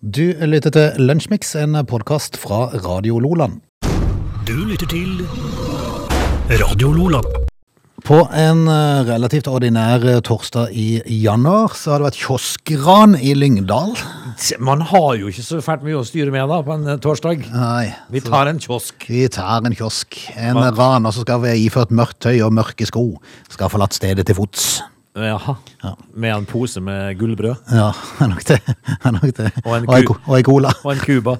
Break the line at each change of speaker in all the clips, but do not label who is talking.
Du lytter til Lunsjmix, en podkast fra Radio Loland.
Du lytter til Radio Lola.
På en eh, relativt ordinær eh, torsdag i januar så har det vært kioskran i Lyngdal.
Man har jo ikke så fælt mye å styre med da på en eh, torsdag.
Nei.
Vi tar en kiosk.
Vi tar en kiosk, en raner som skal være iført mørkt tøy og mørke sko, skal ha forlatt stedet til fots.
Jaha.
Ja.
Med en pose med gullbrød
Ja, det er nok det. det, er nok det.
Og en
og, ei,
ku.
ko- og ei cola.
og en cuba.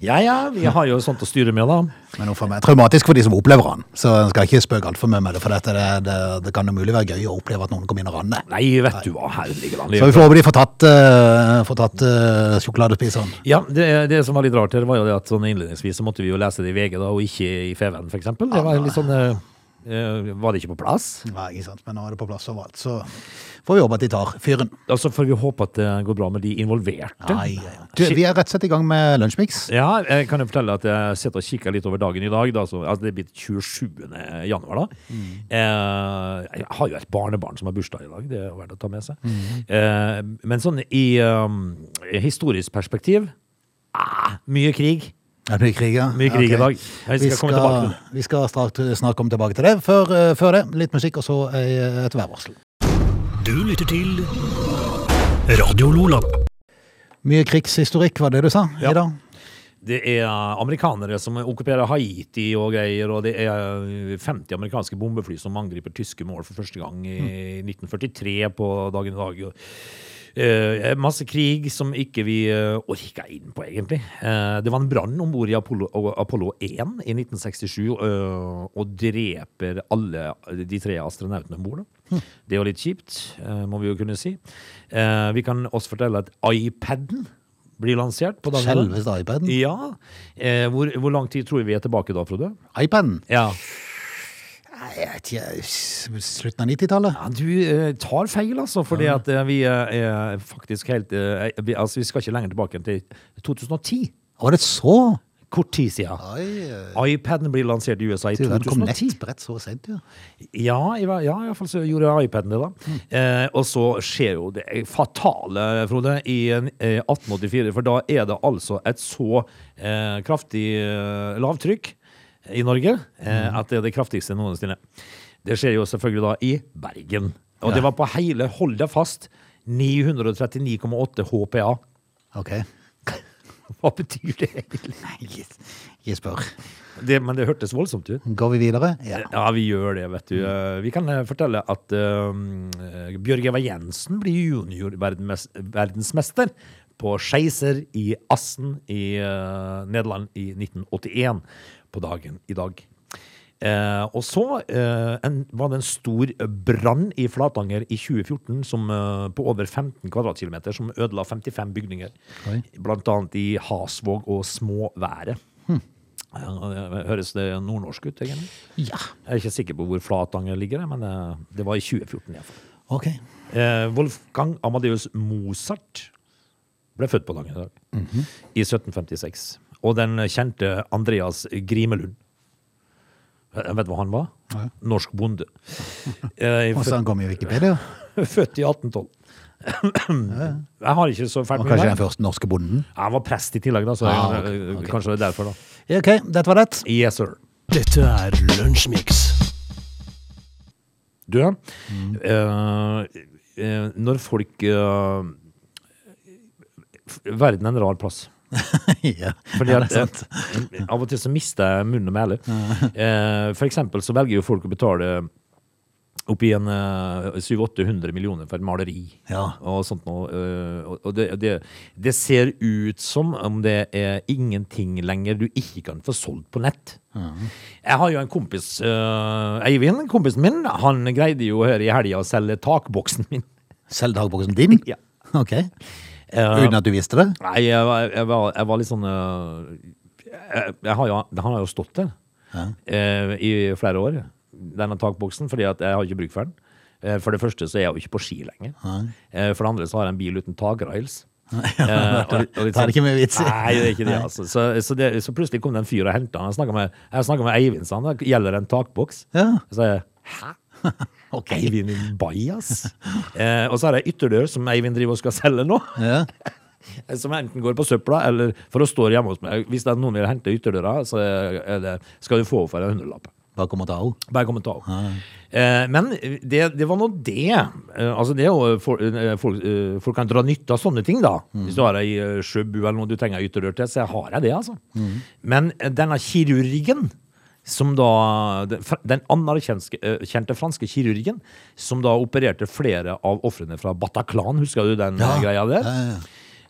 ja ja, vi har jo sånt å styre med, da.
Men uff a meg. Traumatisk for de som opplever han. Så en skal ikke spøke altfor mye med det, for dette, det, det, det kan umulig være gøy å oppleve at noen kommer inn og ranner.
Nei, vet du hva, her ligger han.
Så vi får håpe de får tatt, eh, får tatt eh, sjokoladespiseren.
Ja, det, det som var litt rart her, var jo det at sånn innledningsvis så måtte vi jo lese det i VG, da, og ikke i Feven, for eksempel. Det var litt sånn eh, eh, Var det ikke på plass?
Nei, ikke sant, men nå er det på plass overalt, så får vi håpe at de tar fyren.
Altså, får vi håpe at det går bra med de involverte.
Nei, ja, ja. Du, vi er rett og slett i gang med Lunsjmix.
Ja, jeg kan jo fortelle at jeg sitter og kikker litt over dagen i dag. Da, så, altså det er blitt 27. januar, da. Eh, jeg har jo et barnebarn som har bursdag i dag, det er verdt å ta med seg. Eh, men sånn i um, historisk perspektiv ah, mye krig.
Er det mye krig, ja?
Mye krig i
Ok.
dag. Jeg
Vi
skal komme tilbake til
skal, vi skal snart, snart komme tilbake til det. Før, eh, før det, litt musikk og så eh, et værvarsel.
Du lytter til Radio Lola.
Mye krigshistorikk, var det du sa
Ja.
i dag?
Det er amerikanere som okkuperer Haiti og greier, og det er 50 amerikanske bombefly som angriper tyske mål for første gang i 1943 på dagen i dag. Og, eh, masse krig som ikke vi eh, orka inn på, egentlig. Eh, det var en brann om bord i Apollo, Apollo 1 i 1967 eh, og dreper alle de tre astronautene om bord. Det er jo litt kjipt, eh, må vi jo kunne si. Eh, vi kan også fortelle at iPaden blir lansert på dagen i dag.
Selveste iPaden?
Ja. Eh, hvor, hvor lang tid tror vi er tilbake da, Frode?
iPaden?
Ja.
Nei, jeg vet ikke, s- slutten av 90-tallet?
Du eh, tar feil, altså. Fordi at eh, vi eh, er faktisk helt eh, vi, Altså, vi skal ikke lenger tilbake enn til 2010.
Var det så?
Kort tid siden.
Oi, eh,
iPaden blir lansert i USA i
den kom
2010.
nettbrett så sent, ja.
Ja, i, hver- ja, i hvert fall så gjorde iPaden det, da. Eh, og så skjer jo det fatale, Frode, i en, eh, 1884. For da er det altså et så eh, kraftig eh, lavtrykk i Norge eh, at det er det kraftigste noensinne. Det skjer jo selvfølgelig da i Bergen. Og det var på hele, hold deg fast, 939,8 HPA.
Ok,
Hva betyr det egentlig?
ikke ikke spør.
Det, men det hørtes voldsomt ut.
Går vi videre? Ja.
Ja, vi gjør det, vet du. Eh, Vi kan eh, fortelle at eh, Bjørg Eva Jensen blir junior-verdensmester på skeiser i Assen i eh, Nederland i 1981 på dagen i dag. Eh, og så eh, en, var det en stor brann i Flatanger i 2014 som, eh, på over 15 kvadratkilometer som ødela 55 bygninger.
Oi.
Blant annet i Hasvåg og Småværet. Eh, Høres det nordnorsk ut, egentlig?
Ja.
Jeg er ikke sikker på hvor Flatanger ligger, men eh, det var i 2014 i hvert fall.
Ok.
Eh, Wolfgang Amadeus Mozart ble født på dagen i dag,
Mhm.
i 1756. Og den kjente Andreas Grimelund. Eh, Vet du hva han var?
Nei.
Norsk bonde. Eh,
Og så
født,
han kom i Wikipedia.
født i 1812. Jeg har ikke så fælt
Og
med
kanskje den
det.
første norske bonden.
Jeg var prest i tillegg, da, så
Ah,
jeg-
ok, ok.
kanskje det er derfor, da.
Ok, dette var det.
Yes, sir.
Dette er Lunsjmix.
Du, eh, eh, når folk eh, f- Verden er en rar plass.
ja.
Fordi
ja,
at,
det er sant.
eh, av og til så mister jeg munn og mæle. Eh, for eksempel så velger jo folk å betale oppi en eh, 700-800 millioner for et maleri.
Ja.
Og sånt noe. eh, og- og det, det, det ser ut som om det er ingenting lenger du ikke kan få solgt på nett. Jeg har jo en kompis, eh, Eivind, kompisen min, han greide jo her i helga å selge takboksen min.
Selv dagboksen din?
Ja.
Ok.
Eh,
Uten at du visste det?
Nei, jeg var, jeg var, jeg var litt sånn øh, jeg, jeg har jo, Den har jo stått der eh, i flere år, denne takboksen, fordi at jeg har ikke bruk for den. Eh, For det første så er jeg jo ikke på ski lenger. Eh, For det andre så har jeg en bil uten takrails. Eh, og- og
Da er
litt
det
sånn-
ikke mye vits i.
Nei, det er ikke det, altså. Så, så, det, så plutselig kom det en fyr og henta han. Jeg snakka med, jeg snakket med Eivind, sa han. Det gjelder en takboks.
Ja.
Så jeg, Hæ?
Ok.
Eivind Bajas? Eh, og så har jeg ytterdør, som Eivind driver og skal selge nå.
Ja.
Som enten går på søpla, eller for å stå hjemme hos meg. Hvis det er noen vil hente ytterdøra, så er det, skal du få for en hundrelapp.
Bare kom og ta henne.
Bare kom og ta opp. Eh, men det, det var nå det. Eh, altså det er jo for, eh, folk, eh, folk kan dra nytte av sånne ting, da. Hvis du har ei eh, sjøbu eller noe du trenger ei ytterdør til, så har jeg det, altså. Men eh, denne kirurgen, som da Den, fra- den anerkjente eh, kjente franske kirurgen, som da opererte flere av ofrene fra Bataclan, husker du den eh, greia der?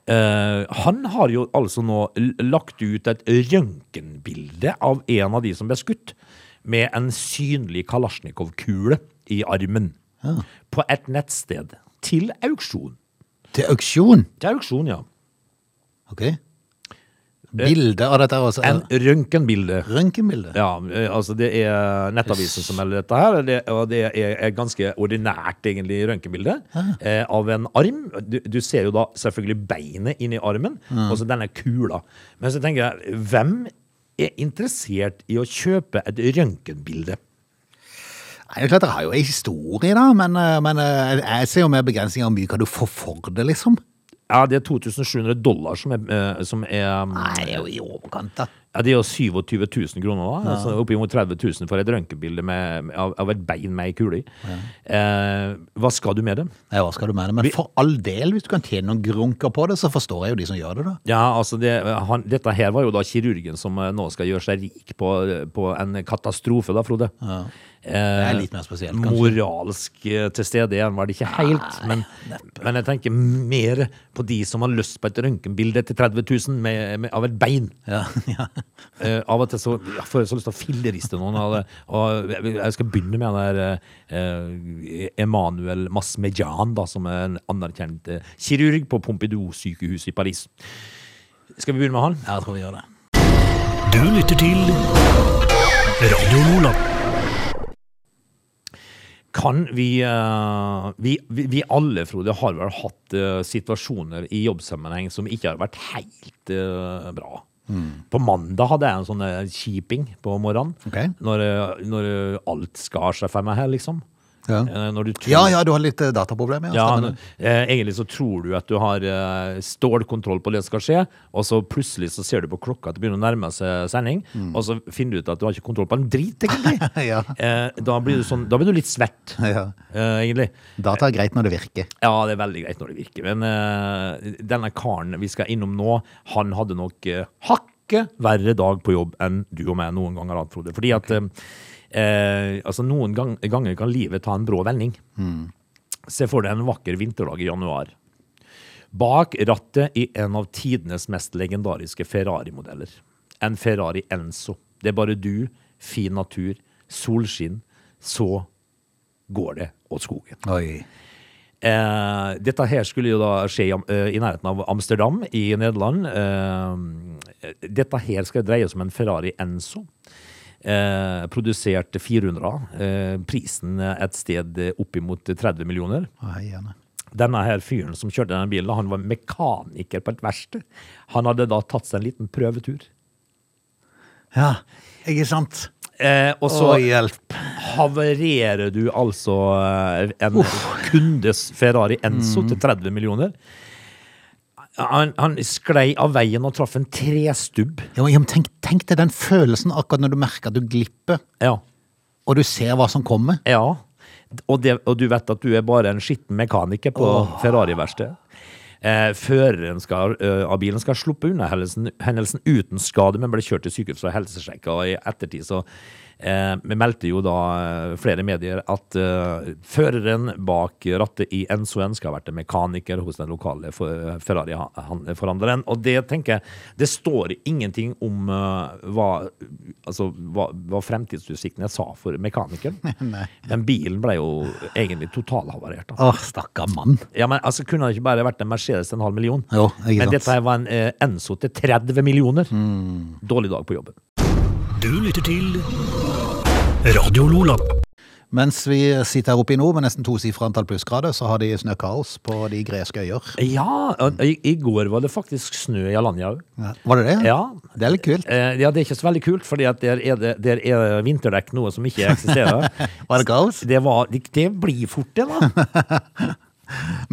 Eh, han har jo altså nå l- lagt ut et røntgenbilde av en av de som ble skutt, med en synlig Kalasjnikov-kule i armen. På et nettsted. Til auksjon.
Til auksjon.
Til auksjon, ja.
Ok. Bilde av dette er altså
En røntgenbilde.
røntgenbilde.
Ja, eh, altså det er Nettavisen som melder dette her, og det, og det er et ganske ordinært egentlig røntgenbilde eh, av en arm. Du, du ser jo da selvfølgelig beinet inni armen, og så denne kula. Men så tenker jeg, hvem er interessert i å kjøpe et røntgenbilde?
Nei, Det er klart det har jo en historie, da, men, eh, men eh, jeg ser jo med begrensninger hvor mye kan du få for det, liksom.
Ja, det er 2700 dollar som er, eh, som er
Nei, det er jo i overkant, da.
Ja, det er jo 27 000 kroner da. Altså, Oppimot 30 000 for et røntgenbilde med- med- av, av et bein med ei kule i. Eh, hva skal du med det?
Nei, hva skal du med det? Men for all del, hvis du kan tjene noen grunker på det, så forstår jeg jo de som gjør det, da.
Ja, altså det, han, Dette her var jo da kirurgen som eh, nå skal gjøre seg rik på, på en katastrofe, da, Frode.
Det
Eh,
er litt mer spesielt, kanskje.
moralsk eh, til stede igjen var det ikke helt, men, men jeg tenker mer på de som har lyst på et røntgenbilde til 30 000 med, med, av et bein.
Ja, ja.
Eh, av og til så ja, får jeg så lyst til å filleriste noen. Av det. Og jeg- jeg skal begynne med han der eh, eh, Emanuel Masmejan, da, som er en anerkjent eh, kirurg på Pompidou sykehus i Paris. Skal vi begynne med han?
Jeg tror vi gjør det.
Du lytter til Radio Lola.
Kan vi, eh, vi, vi Vi alle, Frode, har vel hatt eh, situasjoner i jobbsammenheng som ikke har vært helt eh, bra.
Mm.
På mandag hadde jeg en sånn eh, kjiping på morgenen.
Ok.
Når, eh, når eh, alt skar seg for meg her, liksom.
Ja.
Eh, Når du tror,
ja, ja, du har litt eh, dataproblemer, ja.
Ja,
stemmer det.
eh, egentlig så tror du at du har eh, stålkontroll på det som skal skje, og så plutselig så ser du på klokka at det begynner å nærme seg sending, og så finner du ut at du har ikke kontroll på en drit, egentlig.
Mm. Ja.
eh, da, blir du sånn, da blir du litt svett,
Ja.
eh, egentlig.
Data er greit når det virker.
Ja, det er veldig greit når det virker, men eh, denne karen vi skal innom nå, han hadde nok eh, hakket verre dag på jobb enn du og meg noen gang har hatt, Frode. Fordi at eh, eh, altså noen gang, ganger kan livet ta en brå vending. Se for deg en vakker vinterdag i januar. Bak rattet i en av tidenes mest legendariske Ferrari-modeller. En Ferrari Enzo. Det er bare du, fin natur, solskinn. Så går det åt skogen.
Oi.
Eh, dette her skulle jo da skje i, Am- eh, i nærheten av Amsterdam i Nederland. Eh, dette her skal dreie seg om en Ferrari Enzo. Eh, produsert 400. Eh, prisen eh, et sted eh, oppimot 30 millioner.
Å, hei, Janne.
Denne her fyren som kjørte denne bilen, han var mekaniker på et verksted. Han hadde da tatt seg en liten prøvetur.
Ja, ikke sant?
Eh, og
Så
så
hjelp.
havarerer du altså eh, en kundes Ferrari Enzo til 30 millioner. Han, han sklei av veien og traff en trestubb.
Ja, men- ja, men tenk, tenk deg den følelsen akkurat når du merker at du glipper,
Ja.
og du ser hva som kommer.
ja. Og, det, og du vet at du er bare en skitten mekaniker på Ferrari-verkstedet. Eh, føreren skal, eh, av bilen skal ha sluppet unna hendelsen, hendelsen uten skade, men ble kjørt til sykehus for helsesjekk. Og i ettertid så eh, meldte jo da eh, flere medier at eh, føreren bak rattet i Enzo En skal ha vært en mekaniker hos den lokale for- Ferrari-forhandleren. Og det tenker jeg Det står ingenting om eh, hva, altså, hva, hva fremtidsutsiktene sa for mekanikeren. Men bilen ble jo egentlig totalhavarert. da.
Å, stakkar mann.
Ja, men altså Kunne det ikke bare vært en Mercedes til en halv million?
Jo, ikke
men
sant.
dette her var en eh, Enzo til 30 millioner.
Mm.
Dårlig dag på jobben.
Du lytter til Radio Lola.
Mens vi sitter her oppe i nord med nesten tosifra antall plussgrader, så har de snøkaos på de greske øyer.
Ja, og i, i går var det faktisk snø i Alanya òg.
Var det det?
Ja.
Det er litt kult.
Eh, ja, det er ikke så veldig kult, fordi at der er, det, der er vinterdekk noe som ikke eksisterer.
Var det kaos?
Det, var, det, det blir fort det, da.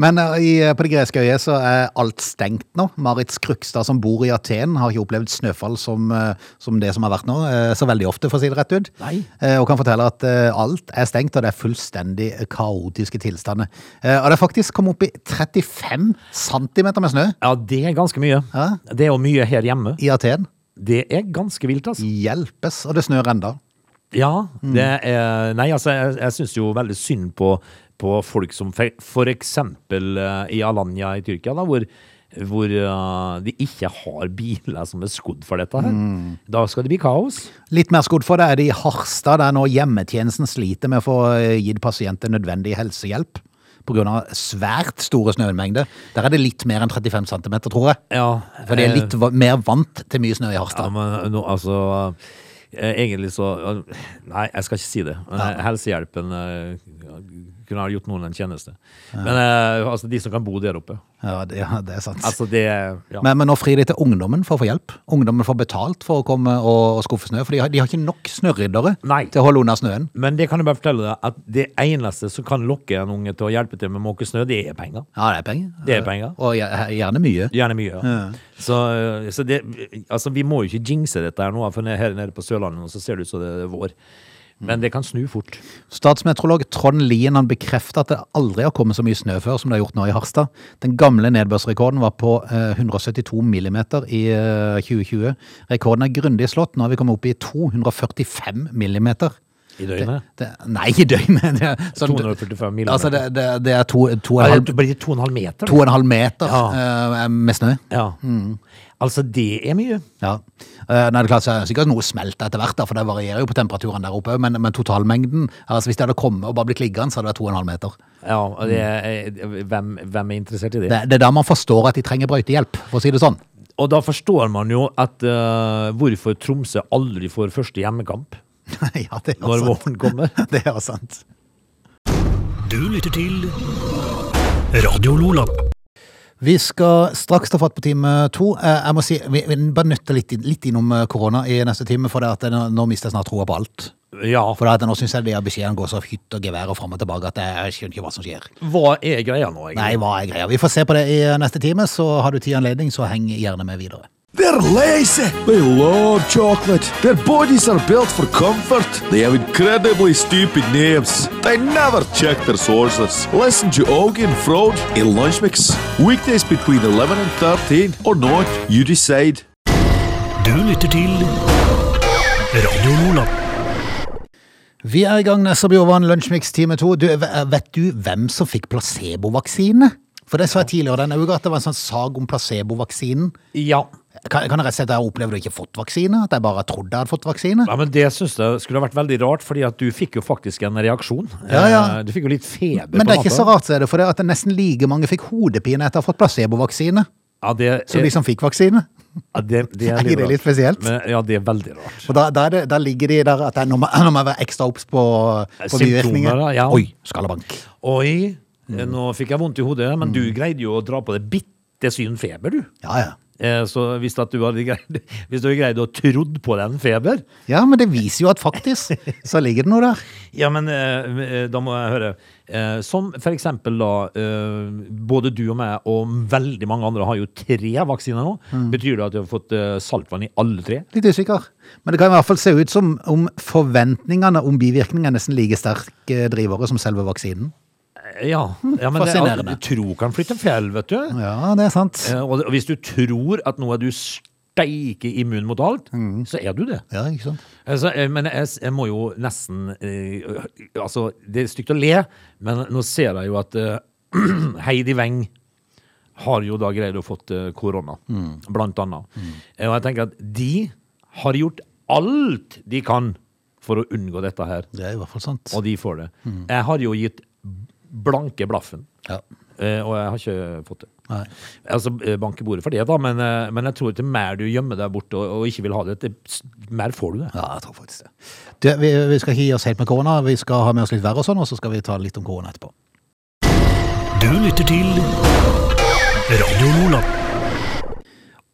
Men eh, i, på det greske øyet så er alt stengt nå. Marit Skrukstad som bor i Aten har ikke opplevd snøfall som, eh, som det som har vært nå, eh, så veldig ofte, for å si det rett ut.
Nei.
Eh, Og kan fortelle at eh, alt er stengt, og det er fullstendig kaotiske tilstander. Eh, Og det er faktisk kommet opp i 35 centimeter med snø
Ja, det er ganske mye.
Ja.
Det er jo mye her hjemme.
i Aten.
Det er ganske vilt,
Mm.
altså.
Hjelpes, og det snør enda.
Ja,
Mm.
det er Nei, altså, jeg, jeg syns jo veldig synd på, på folk som fe- for eksempel eh, i Alanya i Tyrkia, da, hvor hvor eh, de ikke har biler som er skodd for dette. her.
Mm.
Da skal det bli kaos.
Litt mer skodd for det er det i Harstad, der nå hjemmetjenesten sliter med å få eh, gitt pasienter nødvendig helsehjelp. Pga. svært store snømengder. Der er det litt mer enn 35 cm, tror jeg.
Ja,
For de er
eh,
litt va mer vant til mye snø i
Ja,
Harstad.
men nå, altså eh, Egentlig så eh, Nei, jeg skal ikke si det. Men, eh, Helsehjelpen eh, ja, kunne ha gjort noen en tjeneste. Men eh, altså, de som kan bo der oppe
Ja, det, ja, det er sant.
Altså, det ja.
Men, men nå frir de til ungdommen for å få hjelp. Ungdommen får betalt for å komme og, og skuffe snø, for de har, de har ikke nok snøryddere
Nei.
til å holde unna snøen.
Men det kan jeg bare fortelle deg at det eneste som kan lokke en unge til å hjelpe til med å måke snø, det er penger.
Ja, det er penger.
Det er penger.
Og gjer- gjerne mye.
Gjerne mye. Ja. Så, eh, så det, altså, vi må jo ikke jinxe dette her nå, for ned- her nede på Sørlandet nå, så ser det ut som det er vår. Men
Mm.
det kan snu fort.
Statsmeteorolog Trond Lien han bekrefter at det aldri har kommet så mye snø før som det har gjort nå i Harstad. Den gamle nedbørsrekorden var på eh, 172 millimeter i eh, 2020. Rekorden er grundig slått. Nå har vi kommet opp i 245 millimeter.
I døgnet.
Det, nei, i døgnet! Det, er sånn-
245 millimeter.
Altså, det, det, det er to, to, og en
Ja,
halv,
det blir 2,5 meter.
to og en halv meter eh, med snø.
Ja. Altså, det er mye.
Ja. Eh, Nei, det er klart, så er det sikkert noe smelt etter hvert, da, for det varierer jo på temperaturen der oppe. Men, men totalmengden altså Hvis det hadde kommet og bare blitt liggende, så hadde det vært 2,5 meter.
Ja, og
Mm.
det er, eh, hvem, hvem er interessert i det?
Det, det er da man forstår at de trenger brøytehjelp, for å si det sånn.
Og da forstår man jo at eh, hvorfor Tromsø aldri får første hjemmekamp
ja, det er
når
sant.
våren kommer.
Det er sant.
Du lytter til Radio Lola.
Vi skal straks ta fatt på time to. Eh, Jeg må si, vi, vi bare nøtter litt, inn- litt innom eh, korona i neste time, for det at nå, nå mister jeg snart troa på alt.
Ja,
For det at nå syns jeg de har beskjeden går så hytt og gevær og fram og tilbake at jeg skjønner ikke hva som skjer.
hva er greia nå, egentlig?
Nei, hva er greia? Vi får se på det i eh, neste time, så har du tid og anledning, så heng gjerne med videre.
They're lazy. They love chocolate. Their bodies are built for comfort. They have incredibly stupid names. They never check their sources. Listen to Augie and Frode in Lunch Mix. Weekdays between 11 and 13 or not, you decide.
Du lytter til Radio Lola.
Vi er i gang, Nessa Bjorvann, Lunsjmix time to. Du, v- vet du hvem som fikk placebovaksine? For det sa jeg tidligere denne uka, at det var en sånn sag om placebovaksinen.
Ja.
Kan, kan det rett og slett at jeg opplevde å ikke fått vaksine? At jeg bare trodde jeg hadde fått vaksine?
ja, men det syns jeg skulle ha vært veldig rart, fordi at du fikk jo faktisk en reaksjon.
Ja, ja.
Eh, Du fikk jo litt feber.
Men det er ikke så
på natta.
rart, så er det, for det at nesten like mange fikk hodepine etter å ha fått placebovaksine,
Ja, det,
som de som fikk vaksine.
ja, det,
liksom,
det
Er
er,
ikke det
rart.
litt spesielt? Mm.
Men, ja, det er veldig rart.
Og da, da, er det, da ligger de der at jeg, nå, må, nå må jeg være ekstra obs på, på
Symptomer,
bivirkninger.
da, ja.
Oi, skallebank.
Oi, eh, nå fikk jeg vondt i hodet, men
Mm.
du greide jo å dra på det bitte syn feber, du.
Ja, ja.
Eh, Så hvis, at du hadde greid, hvis du hadde greid å trodd på den feber
Ja, men det viser jo at faktisk, så ligger det noe der.
Ja, men eh, eh, da må jeg høre eh, Som for eksempel da eh, Både du og meg og veldig mange andre har jo tre vaksiner nå Betyr det at du har fått eh, saltvann i alle tre?
Litt usikker. Men det kan i hvert fall se ut som om forventningene om bivirkninger er nesten like sterke drivere som selve vaksinen.
Eh, Ja, ja men det,
fascinerende. Mm.
altså, tro kan flytte fjell, vet du
Ja, det er sant.
eh, Og det- og hvis du tror at nå er du steike immun mot alt Så er du det
Ja, ikke sant?
Altså, eh, men jeg, s- jeg må jo nesten eh, Altså, det er stygt å le, men nå ser jeg jo at eh, Heidi Weng har jo da greid å fått eh, korona, blant annet. Eh, Og jeg tenker at de har gjort alt de kan for å unngå dette her,
Det er i hvert fall sant.
og de får det. Jeg har jo gitt blanke blaffen,
Ja.
eh, og jeg har ikke fått det.
Nei.
Altså, eh, banke bordet for det, da, men, eh, men jeg tror til mer du gjemmer deg borte og, og ikke vil ha det, til s- mer får du det.
ja, jeg tror faktisk det. Du, vi, vi skal ikke gi oss helt med korona. Vi skal ha med oss litt verre og sånn, og så skal vi ta litt om korona etterpå.
Du lytter til Radio Lola.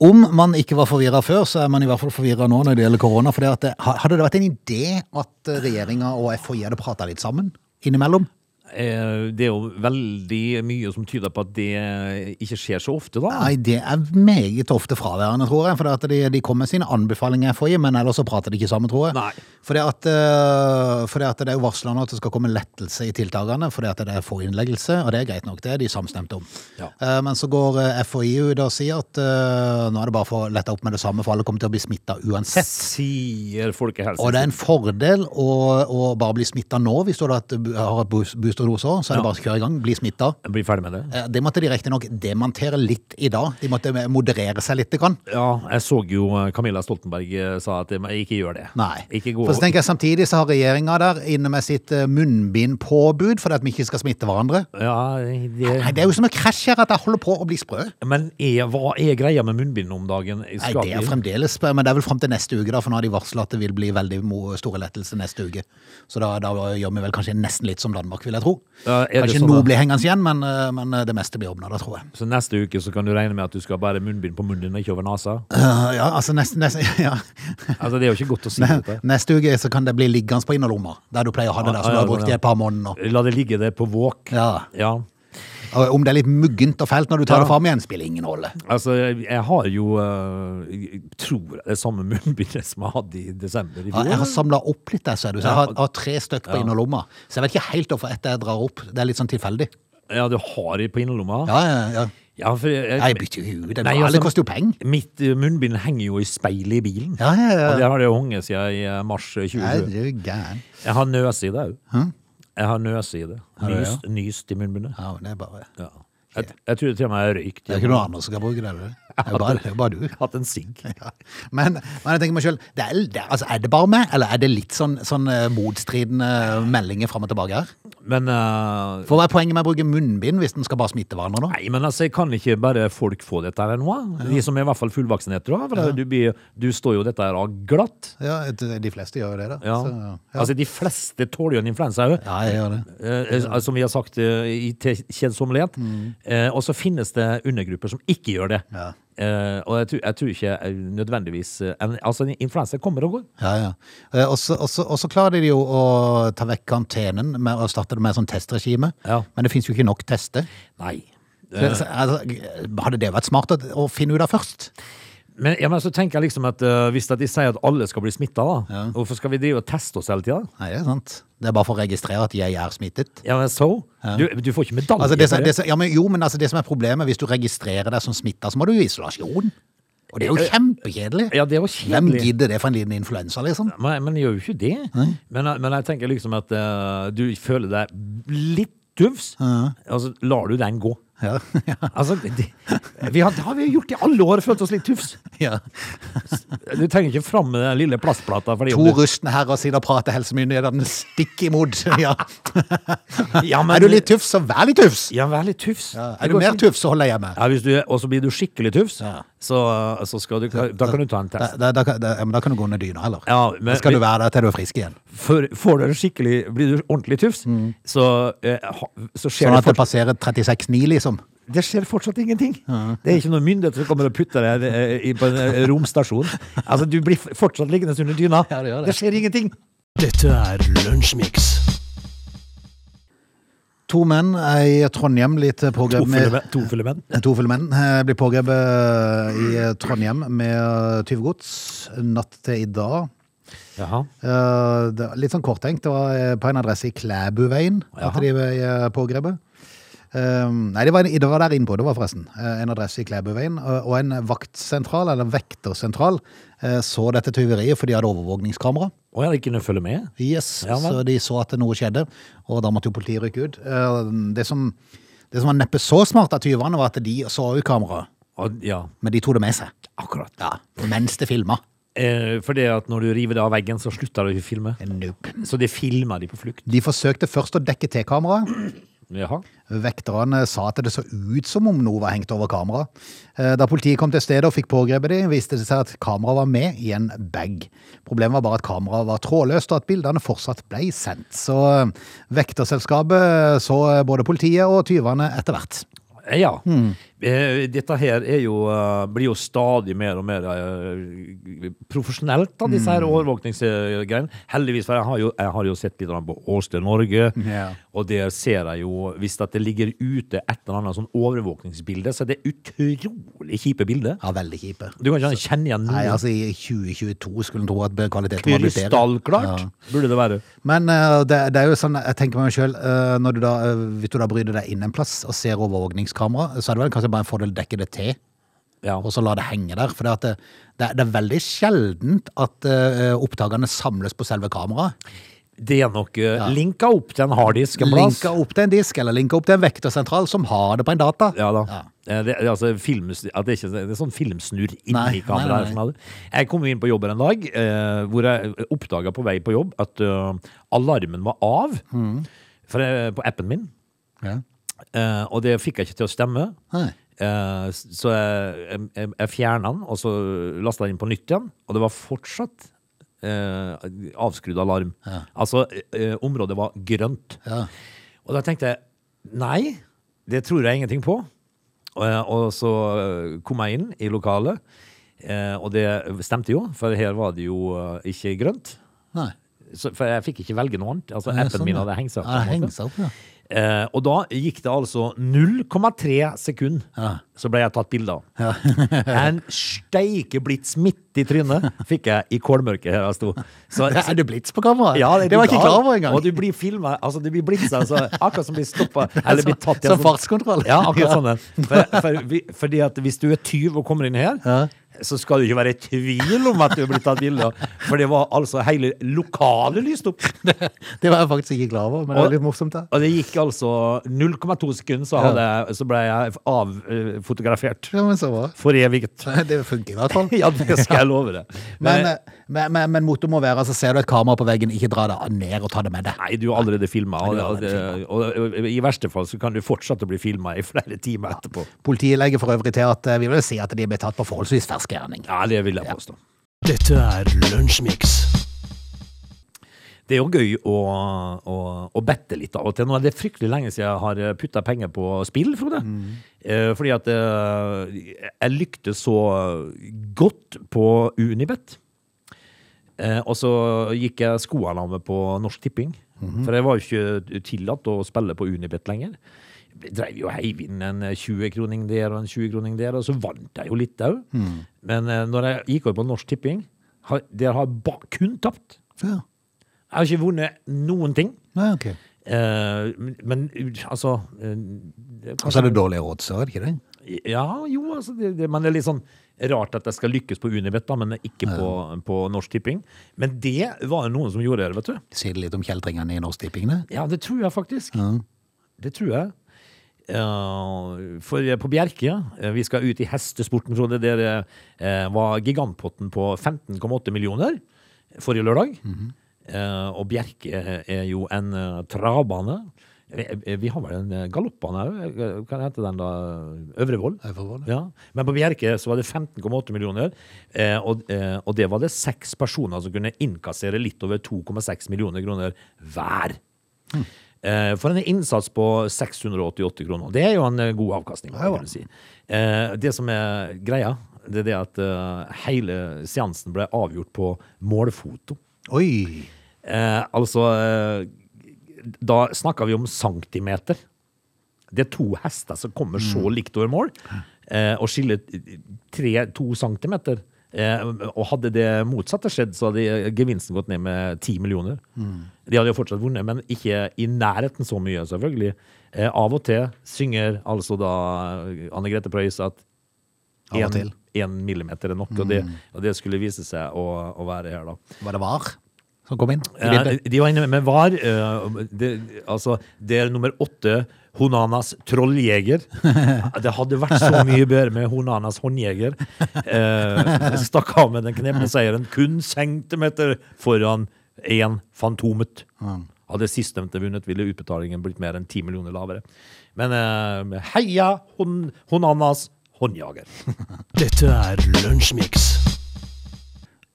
Om man ikke var forvirra før, så er man i hvert fall forvirra nå når det gjelder korona. For det eh, at det, hadde det vært en idé at regjeringa og FHI hadde prata litt sammen innimellom?
eh, det er jo veldig mye som tyder på at det ikke skjer så ofte, da.
Nei, det er meget ofte fraværende, tror jeg. For det at de, de kommer med sine anbefalinger for men ellers så prater de ikke sammen, tror jeg.
Nei.
For det at, eh, fordi at det er jo varsla nå at det skal komme lettelse i tiltakene, fordi at det er få innleggelse, og det er greit nok, det er de samstemte om.
Ja.
Eh, Men så går eh, FHI ut og sier at eh, nå er det bare for å lette opp med det samme, for alle kommer til å bli smitta uansett.
Sier folkehelsen.
Og det er en fordel å, å bare bli smitta nå, hvis du har hatt- har hatt boos- boosterdose òg. Så er det
Ja.
bare å kjøre i gang, bli smitta.
Blir ferdig med det.
Eh, Det måtte de riktignok demontere litt i dag. De måtte moderere seg litt. Grann.
Ja, jeg så jo eh, Camilla Stoltenberg eh, sa at eh, men ikke gjør det.
Nei.
Ikke gå
For så tenker jeg Samtidig så har regjeringa der inne med sitt eh, munnbindpåbud fordi at vi ikke skal smitte hverandre.
Ja, det...
Nei, Det er jo som en krasj her, at jeg holder på å bli sprø.
Men er, hva er greia med munnbind om dagen?
Nei,
Skal
Det er
vi-
fremdeles sprø, men det er vel fram til neste uke, da, for nå har de varsla at det vil bli veldig mo- store lettelser neste uke. Så da, da gjør vi vel kanskje nesten litt som Danmark, vil jeg tro.
Ja, er det
kanskje
sånn
noe
at-
blir hengende igjen, men, eh, men eh, det meste blir ordna, tror jeg.
Så neste uke så kan du regne med at du skal bære munnbind på munnen, ikke over nesa?
Eh, ja, altså neste, neste, ja.
Altså, det er jo ikke godt å si dette.
neste uke så kan det bli liggende på innerlomma, der du pleier å ha det der som du
Ja, ja,
har brukt i et par måneder nå.
La det ligge der på våk.
Ja.
Ja.
Og Om det er litt muggent og fælt når du tar
Ja.
det fram igjen, spiller ingen rolle.
Altså, jeg jeg har jo eh, jeg tror det samme munnbindet som jeg hadde i desember i
Ja,
fjor.
jeg har samla opp litt der, ser du. Så jeg har, har tre stykk på
Ja.
innerlomma. Så jeg vet ikke helt hvorfor ett jeg drar opp. Det er litt sånn tilfeldig.
Ja, du har det på innerlomma?
Ja, ja, ja.
Ja, for jeg,
Nei, Jeg bytter jo ut.
Nei,
Alle
altså-
koster jo penger.
Mitt eh, munnbind henger jo i speilet i bilen.
Ja, ja, ja.
Og det har det jo hengt siden i eh, mars eh,
Nei,
2020.
du er gæren.
Jeg har nøs i det òg. Jeg har nøs i det.
du det,
Nyst, nyst i munnbindet.
Ja, men det er bare Det
Ja. Jeg, jeg tror til og med jeg har røykt.
er ikke noen andre som kan bruke det. eller? Det er jo bare, det er jo bare du.
Hatt en sigg.
Ja. Men, men jeg tenker meg selv, det er, det, altså, er det bare meg, eller er det litt sånn, sånn eh, motstridende meldinger fram og tilbake her?
Men eh,
For hva er poenget med å bruke munnbind hvis den skal bare smitte hverandre nå?
Nei, men altså, jeg kan ikke bare folk få dette her nå? De som er i hvert fall fullvaksinerte, da. For du, blir, du står jo dette her av glatt.
Ja, et- de fleste gjør jo det, da.
Ja.
Så, ja.
Altså, de fleste tåler jo en influensa òg.
ja, jeg gjør det.
Eh, eh, som vi har sagt eh, i til kjedsommelighet. Eh, og så finnes det undergrupper som ikke gjør det.
Mm. Ja.
Eh, og jeg tror, jeg tror ikke eh, nødvendigvis eh, en, Altså, en influensa kommer og går.
Ja, ja. Eh, Og så- og så og så klarer de jo å ta vekk karantenen med å starte det med sånn testregime.
Ja. Eh.
Men det finnes jo ikke nok tester.
Nei.
Så, så, altså, hadde det vært smart å, å finne ut av først?
Men, ja, men så tenker jeg liksom at eh, hvis at de sier at alle skal bli smitta, da, hvorfor skal vi drive og teste oss hele tida?
Nei, det er sant. Det er bare for å registrere at jeg er smittet.
Ja, men så? Du, du får ikke medalje
Altså, det,
for
som-
det.
det, som- ja, men, jo, men altså, det som er problemet, hvis du registrerer deg som smitta, så må du i isolasjon. Og det er jo kjempekjedelig.
Eh, Ja, det er jo
Hvem
kjedelig.
gidder det for en liten influensa, liksom?
Men, men gjør jo ikke det. Men, men jeg tenker liksom at eh, du føler deg litt tufs, og så lar du den gå.
Ja, ja,
Altså, det, vi har, det har vi jo gjort i alle år, følt oss litt tufs.
ja.
Du trenger ikke fram med den lille plastplata. Fordi om
To
du,
rustne herrer sitter og prater helsemyndighetene stikk imot. Ja.
ja, men-
Er du litt tufs, så vær litt tufs!
Ja, vær litt tufs.
Ja, Er du mer tufs, så holder jeg med.
Ja, hvis du, og så blir du skikkelig tufs,
Ja.
så, så skal du, da kan du ta en
Da,
test.
da, da, kan- da, ja, men da kan du gå under dyna, heller.
Ja, men-
da skal du være der til du er frisk igjen.
For, får du en skikkelig, blir du ordentlig tufs, så, eh, ha- så skjer
Mm. Sånn
det
at det
fortsatt,
passerer 36,9, liksom.
det skjer fortsatt ingenting. Det er ikke noen myndigheter som kommer og putter deg eh, i- på en eh, romstasjon. Altså, du blir f- fortsatt liggende under dyna.
Ja, det gjør det.
skjer ingenting.
Dette er Lunsjmix.
To menn er i Trondheim blitt
To
pågrepet
fulle
med
menn- to fulle menn.
To fulle menn eh, blir pågrepet i Trondheim med tyvegods natt til i dag.
Jaha.
Eh, det var litt sånn korttenkt. Det var eh, på en adresse i Klæbuveien at
Jaha.
de ble eh, pågrepet. Eh, nei, det var, det var der innbruddet var, forresten. Eh, en adresse i Klæbuveien. eh, Og, og en vaktsentral, eller vektersentral, eh, så dette tyveriet, for de hadde overvåkningskamera.
Å, jeg kunne følge med.
Yes,
Ja vel.
så de så at noe skjedde, og da måtte jo politiet rykke ut. Eh, Det som, det som var neppe så smart av tyvene, var at de så jo kameraet,
Og, ja,
men de tok det med seg.
akkurat.
Ja, mens det filma.
Eh, for det at når du river det av veggen, så slutter du ikke å filme.
Nope.
Så det filmer de på flukt.
De forsøkte først å dekke til kameraet.
Jaha.
Vekterne sa at det så ut som om noe var hengt over kameraet. Eh, Da politiet kom til stedet og fikk pågrepet dem, viste det seg at kameraet var med i en bag. Problemet var bare at kameraet var trådløst, og at bildene fortsatt ble sendt. Så eh, vekterselskapet så både politiet og tyvene etter hvert.
Eh, Ja. Eh, Dette her er jo, eh, blir jo stadig mer og mer eh, profesjonelt, da, disse
Hmm.
her overvåkningsgreiene. Heldigvis, for jeg har jo, jeg har jo sett litt grann på Åsted Norge,
Ja.
og der ser jeg jo Hvis at det ligger ute et eller annet sånn overvåkningsbilde, så er det utrolig kjipe bilder.
Ja, veldig kjipe.
Du kan ikke kjenne igjen
Nei,
noe.
altså i 2022 skulle en tro at kvaliteten var blitt bedre.
Krystallklart
Ja.
burde det være.
Men eh, det, det er jo sånn, jeg tenker meg selv, eh, når du da, eh, hvis du da bryr deg inn en plass og ser overvåkningskamera, så er det vel kanskje bare en fordel å dekke det til,
Ja.
og så la det henge der. For det, at det, det, er- det er veldig sjeldent at eh, opptakerne samles på selve kameraet.
Det er nok eh, linka opp til en harddisk en plass.
Linka opp til en disk, eller linka opp til en vektersentral som har det på en data.
Ja da.
Ja.
Eh, Det, det, er altså, films, at det, er ikke, det er sånn filmsnurr
Nei,
inni
nei,
kameraet.
nei.
her som hadde. Jeg kom jo inn på jobb en dag eh, hvor jeg oppdaga på vei på jobb at eh, alarmen var av
Mm.
for, jeg- på appen min.
Ja.
Eh, og det fikk jeg ikke til å stemme.
Nei.
Eh, s- så jeg, jeg, jeg fjerna den, og så lasta jeg den på nytt igjen. Og det var fortsatt eh, avskrudd alarm. Altså, eh, området var grønt.
Ja.
Og da tenkte jeg nei, det tror jeg ingenting på. Og, og så eh, kom jeg inn i lokalet, eh, og det stemte jo, for her var det jo eh, ikke grønt.
Nei.
Så, for jeg fikk ikke velge noe annet. Altså,
Ja,
appen
sånn,
min
ja.
hadde hengt seg
Ja,
opp. på en måte.
hengt seg opp, ja.
Eh, og da gikk det altså 0,3 sekund,
Ja.
så ble jeg tatt bilde av. en steike blitt smitt i trynet fikk jeg i kålmørket her jeg sto. Så,
Er det blits på kameraet?
ja,
det var jeg ikke
gal.
klar over engang.
Og du blir filma, altså du blir blitsa, altså, akkurat som blir stoppa eller blir tatt i en
Som fartskontroll.
Ja, akkurat sånn. den. For, for, vi- fordi at hvis du er tyv og kommer inn her,
Ja.
så skal du ikke være i tvil om at du er blitt tatt bilde av. For det var altså hele lokalet lyst opp.
Det var jeg faktisk ikke klar over, men det var litt morsomt da.
Og det gikk altså 0,2 sekunder, så, hadde jeg, så ble jeg avfotografert.
Ja, men så bra.
For eviget.
Det funker i hvert fall.
Ja, det skal jeg love deg.
Men, eh, men, men, men motor må være, altså ser du et kamera på veggen, ikke dra det ned og ta det med deg.
Nei, du er allerede filma, og,
du er allerede
og, og, og i verste fall så kan du fortsette å bli filma i flere timer etterpå.
Politiet legger for øvrig til at eh, vi vil si at de ble tatt på forholdsvis fersk gjerning.
Ja, det vil jeg påstå.
Dette er Lunsjmix.
Det er jo gøy å, å, å bette litt av og til. Nå er det fryktelig lenge siden jeg har putta penger på spill, Frode. Eh, fordi at eh, jeg lyktes så godt på Unibet. Eh, og så gikk jeg skoene av meg på Norsk Tipping. For jeg var jo ikke tillatt å spille på Unibet lenger. Jeg Dreiv jo og heiv inn en 20-kroning der og en 20-kroning der, og så vant jeg jo litt òg. Men eh, når jeg gikk over på Norsk Tipping, har, der har jeg ba- kun tapt.
Ja,
Jeg har ikke vunnet noen ting.
Nei, ok.
Eh, men, men altså eh,
Og så Altså, er det dårlige odds, er det ikke det?
Ja, jo, altså, det, det, men det er litt sånn rart at jeg skal lykkes på Unibet, da, men ikke på, på Norsk Tipping. Men det var jo noen som gjorde det, vet du.
Sier det litt om kjeltringene i Norsk Tipping, det?
Ja, det tror jeg faktisk. Det tror jeg. Eh, for eh, på Bjerke, eh, vi skal ut i hestesporten, Frode. Der eh, var gigantpotten på 15,8 millioner forrige lørdag. Eh, og Bjerke er jo en eh, travbane. Eh, eh, Vi har vel en eh, galoppbane òg? Hva heter den da? Øvrevoll?
Øvrevoll,
Ja. Men på Bjerke så var det 15,8 millioner, eh, og, eh, og det var det seks personer som kunne innkassere litt over 2,6 millioner kroner hver.
Hm.
Eh, For en innsats på 688 kroner. Det er jo en eh, god avkastning.
Ja, ja.
Kan du si. Eh, Det som er greia, det er det at eh, hele seansen ble avgjort på målfoto.
Oi!
Eh, altså eh, Da snakker vi om centimeter. Det er to hester som kommer så
Mm.
likt over mål, eh, og skiller tre, to centimeter. Eh, og hadde det motsatte skjedd, så hadde gevinsten gått ned med ti millioner.
Mm.
De hadde jo fortsatt vunnet, men ikke i nærheten så mye, selvfølgelig. Eh, av og til synger altså da Anne Grete Preus at
Av og til. Mm.
én millimeter er nok, og, det, og det skulle vise seg å, å være her, da.
Var det var som kom inn? i
Ja,
bildet?
de var inne med VAR. eh, det, altså, det er nummer åtte. Honanas trolljeger. Det hadde vært så mye bedre med Honanas håndjeger. Eh, stakk av med den knepne seieren kun centimeter foran én Fantomet. Hadde sistnevnte vunnet, ville utbetalingen blitt mer enn ti millioner lavere. Men eh, heia hon, Honanas håndjager.
Dette er Lunsjmix.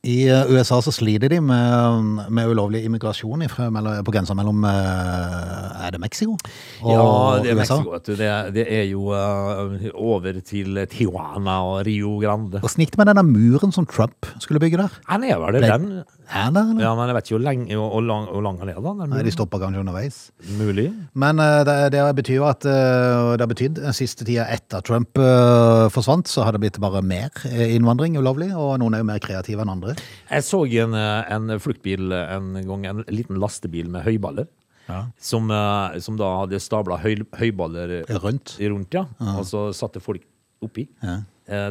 I eh, USA så sliter de med, med ulovlig immigrasjon ifra, mellom, på grensa mellom eh, Er det Mexico? Og
ja, det er
USA?
Mexico, vet du. Det, er- det er jo eh, over til Tijuana og Rio Grande.
Og snikt med denne muren som Trump skulle bygge der.
Han er vel det,
Ble-
den?
Er der, eller?
Ja, men jeg vet ikke hvor lenge hvor lang, hvor lang han er, da. Den
Nei, de stoppa kanskje underveis.
Mulig.
Men eh, det, det betyr jo at eh, det har betydd eh, siste tida etter Trump eh, forsvant, så har det blitt bare mer eh, innvandring ulovlig, og noen er jo mer kreative enn andre.
Jeg så en, eh, en fluktbil eh, en gang, en liten lastebil med høyballer. Som, eh, som da hadde stabla høy, høyballer
Rundt.
rundt, ja. Og så satte folk oppi. Eh,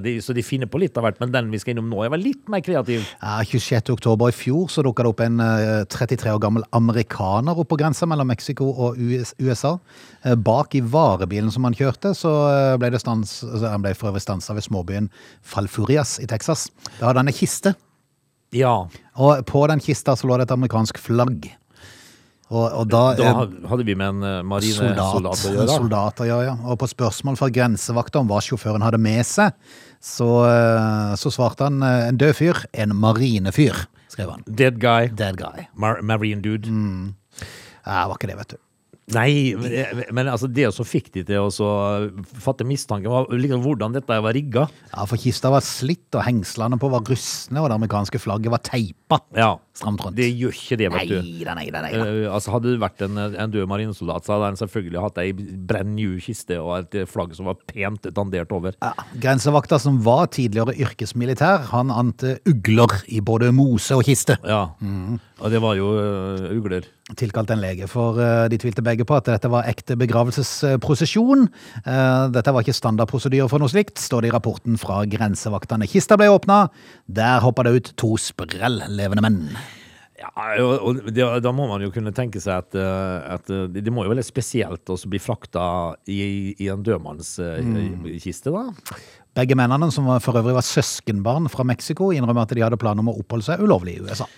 De, så de finner på litt av hvert, men den vi skal innom nå, er vel litt mer kreativ.
Ja, 26. oktober i fjor så dukka det opp en eh, 33 år gammel amerikaner opp på grensa mellom Mexico og US USA. Eh, Bak i varebilen som han kjørte, så eh, ble det stans, altså, han ble for øvrig stansa ved småbyen Falfurias i Texas. Da hadde han ei kiste,
Ja,
og på den kista så lå det et amerikansk flagg. Og, og da,
da
eh,
had- hadde vi med en eh,
Soldat,
marinesoldat å
soldat,
gjøre.
å gjøre, ja. Og på spørsmål fra grensevakta om hva sjåføren hadde med seg, så, eh, så svarte han eh, en død fyr, en marinefyr, skrev han.
Dead guy.
Dead guy.
Mar marine dude.
Ja, var ikke det, vet du.
Nei, men, men altså det som fikk de til å så fatte mistanke, var liksom hvordan dette var rigga.
Ja, For kista var slitt, og hengslene på var rustne, og det amerikanske flagget var teipa
Ja.
stramt rundt.
Det gjør ikke det, vet du.
Neida, neida, neida.
Eh, altså Hadde det vært en, en død marinesoldat, så hadde han selvfølgelig hatt ei brenn new kiste og et flagg som var pent dandert over.
Ja, grensevakta som var tidligere yrkesmilitær, han ante ugler i både mose og kiste.
Ja. Og det var jo eh, ugler.
tilkalt en lege, for eh, de tvilte begge på at dette var ekte begravelsesprosesjon. Eh, Dette var ikke standardprosedyre for noe slikt, står det i rapporten fra grensevaktene. Kista ble åpna, der hoppa det ut to sprell levende menn.
Ja, og, og det, da må man jo kunne tenke seg at, eh, at eh, det må jo være spesielt å bli frakta i, i en eh, dødmannskiste, da.
Begge mennene, som var- for øvrig var søskenbarn fra Mexico, innrømmer at de hadde planer om å oppholde seg ulovlig i USA.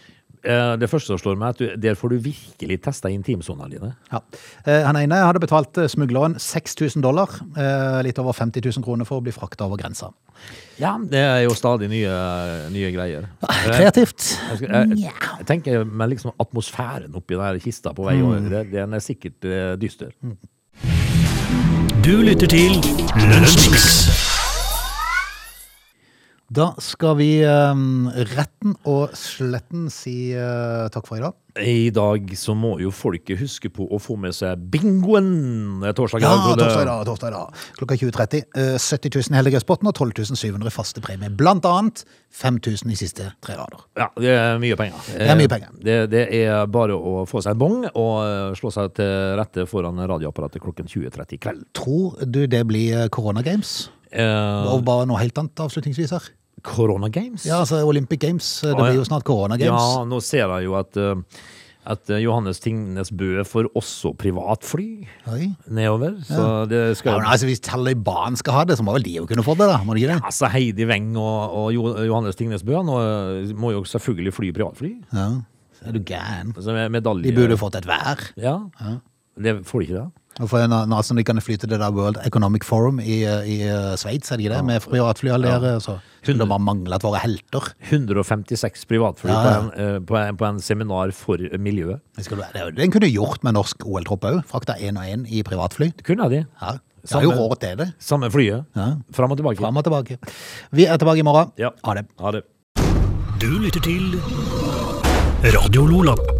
Eh, Det første som slår meg, er at du, der får du virkelig testa intimsonene dine.
Ja. Eh, Han ene hadde betalt eh, smugleren 6000 dollar, eh, litt over 50 000 kroner, for å bli frakta over grensa.
Ja, det er jo stadig nye, nye greier.
Kreativt.
Jeg, skal, jeg, jeg tenker meg liksom atmosfæren oppi den her kista på vei over. det- Den er sikkert eh, dyster.
Du lytter til Lunsjmix.
Da skal vi ehm, retten og sletten si eh, takk for i dag.
I dag så må jo folket huske på å få med seg bingoen Det er torsdag. i
Ja,
dag, Frode.
torsdag i dag, torsdag i dag. Klokka 20.30. eh, 70 000 i Helligdagspotten og 12 700 i faste premie. Blant annet 5000 i siste tre rader.
Ja, det er mye penger.
Det er mye penger.
Eh, Det, det er bare å få seg en bong og eh, slå seg til rette foran radioapparatet klokken 20.30 i kveld.
Tror du det blir koronagames?
Eh,
Og bare noe helt annet avslutningsvis her.
Corona Games?
Ja, altså Olympic Games. eh, Det
Å, ja.
blir jo snart koronagames.
Ja, nå ser jeg jo at, eh, at eh, Johannes Tingnes Bø får også privatfly
Oi.
nedover. Så det
Ja,
skal
men altså, hvis Taliban skal ha det, så må vel de jo kunne få det, da? Må de ikke det?
Altså Heidi Weng og, og Jo- Johannes Tingnes Bø nå, eh, må jo selvfølgelig fly privatfly.
Ja. Er du gæren?
Altså, med medalje.
De burde fått et vær.
Ja. Det får de ikke, da.
Og for en annen som de kan flytte til det der World Economic Forum i, i eh, Sveits, er det ikke det? Med privatfly alle der, så skulle det bare mangle at våre helter.
156 privatfly
Ja, ja.
På, en, eh, på, en, på en seminar for miljøet.
Det skulle være- det er jo- Den kunne du gjort med norsk OL-tropp òg. Frakta én og én i privatfly.
Det kunne de.
Ja. Det er jo
Samme-
råd til det.
Samme flyet.
Ja.
Fram og tilbake.
Fram og tilbake. Vi er tilbake i morgen.
Ja.
Ha det.
Ha det.
Du lytter til Radio Lola.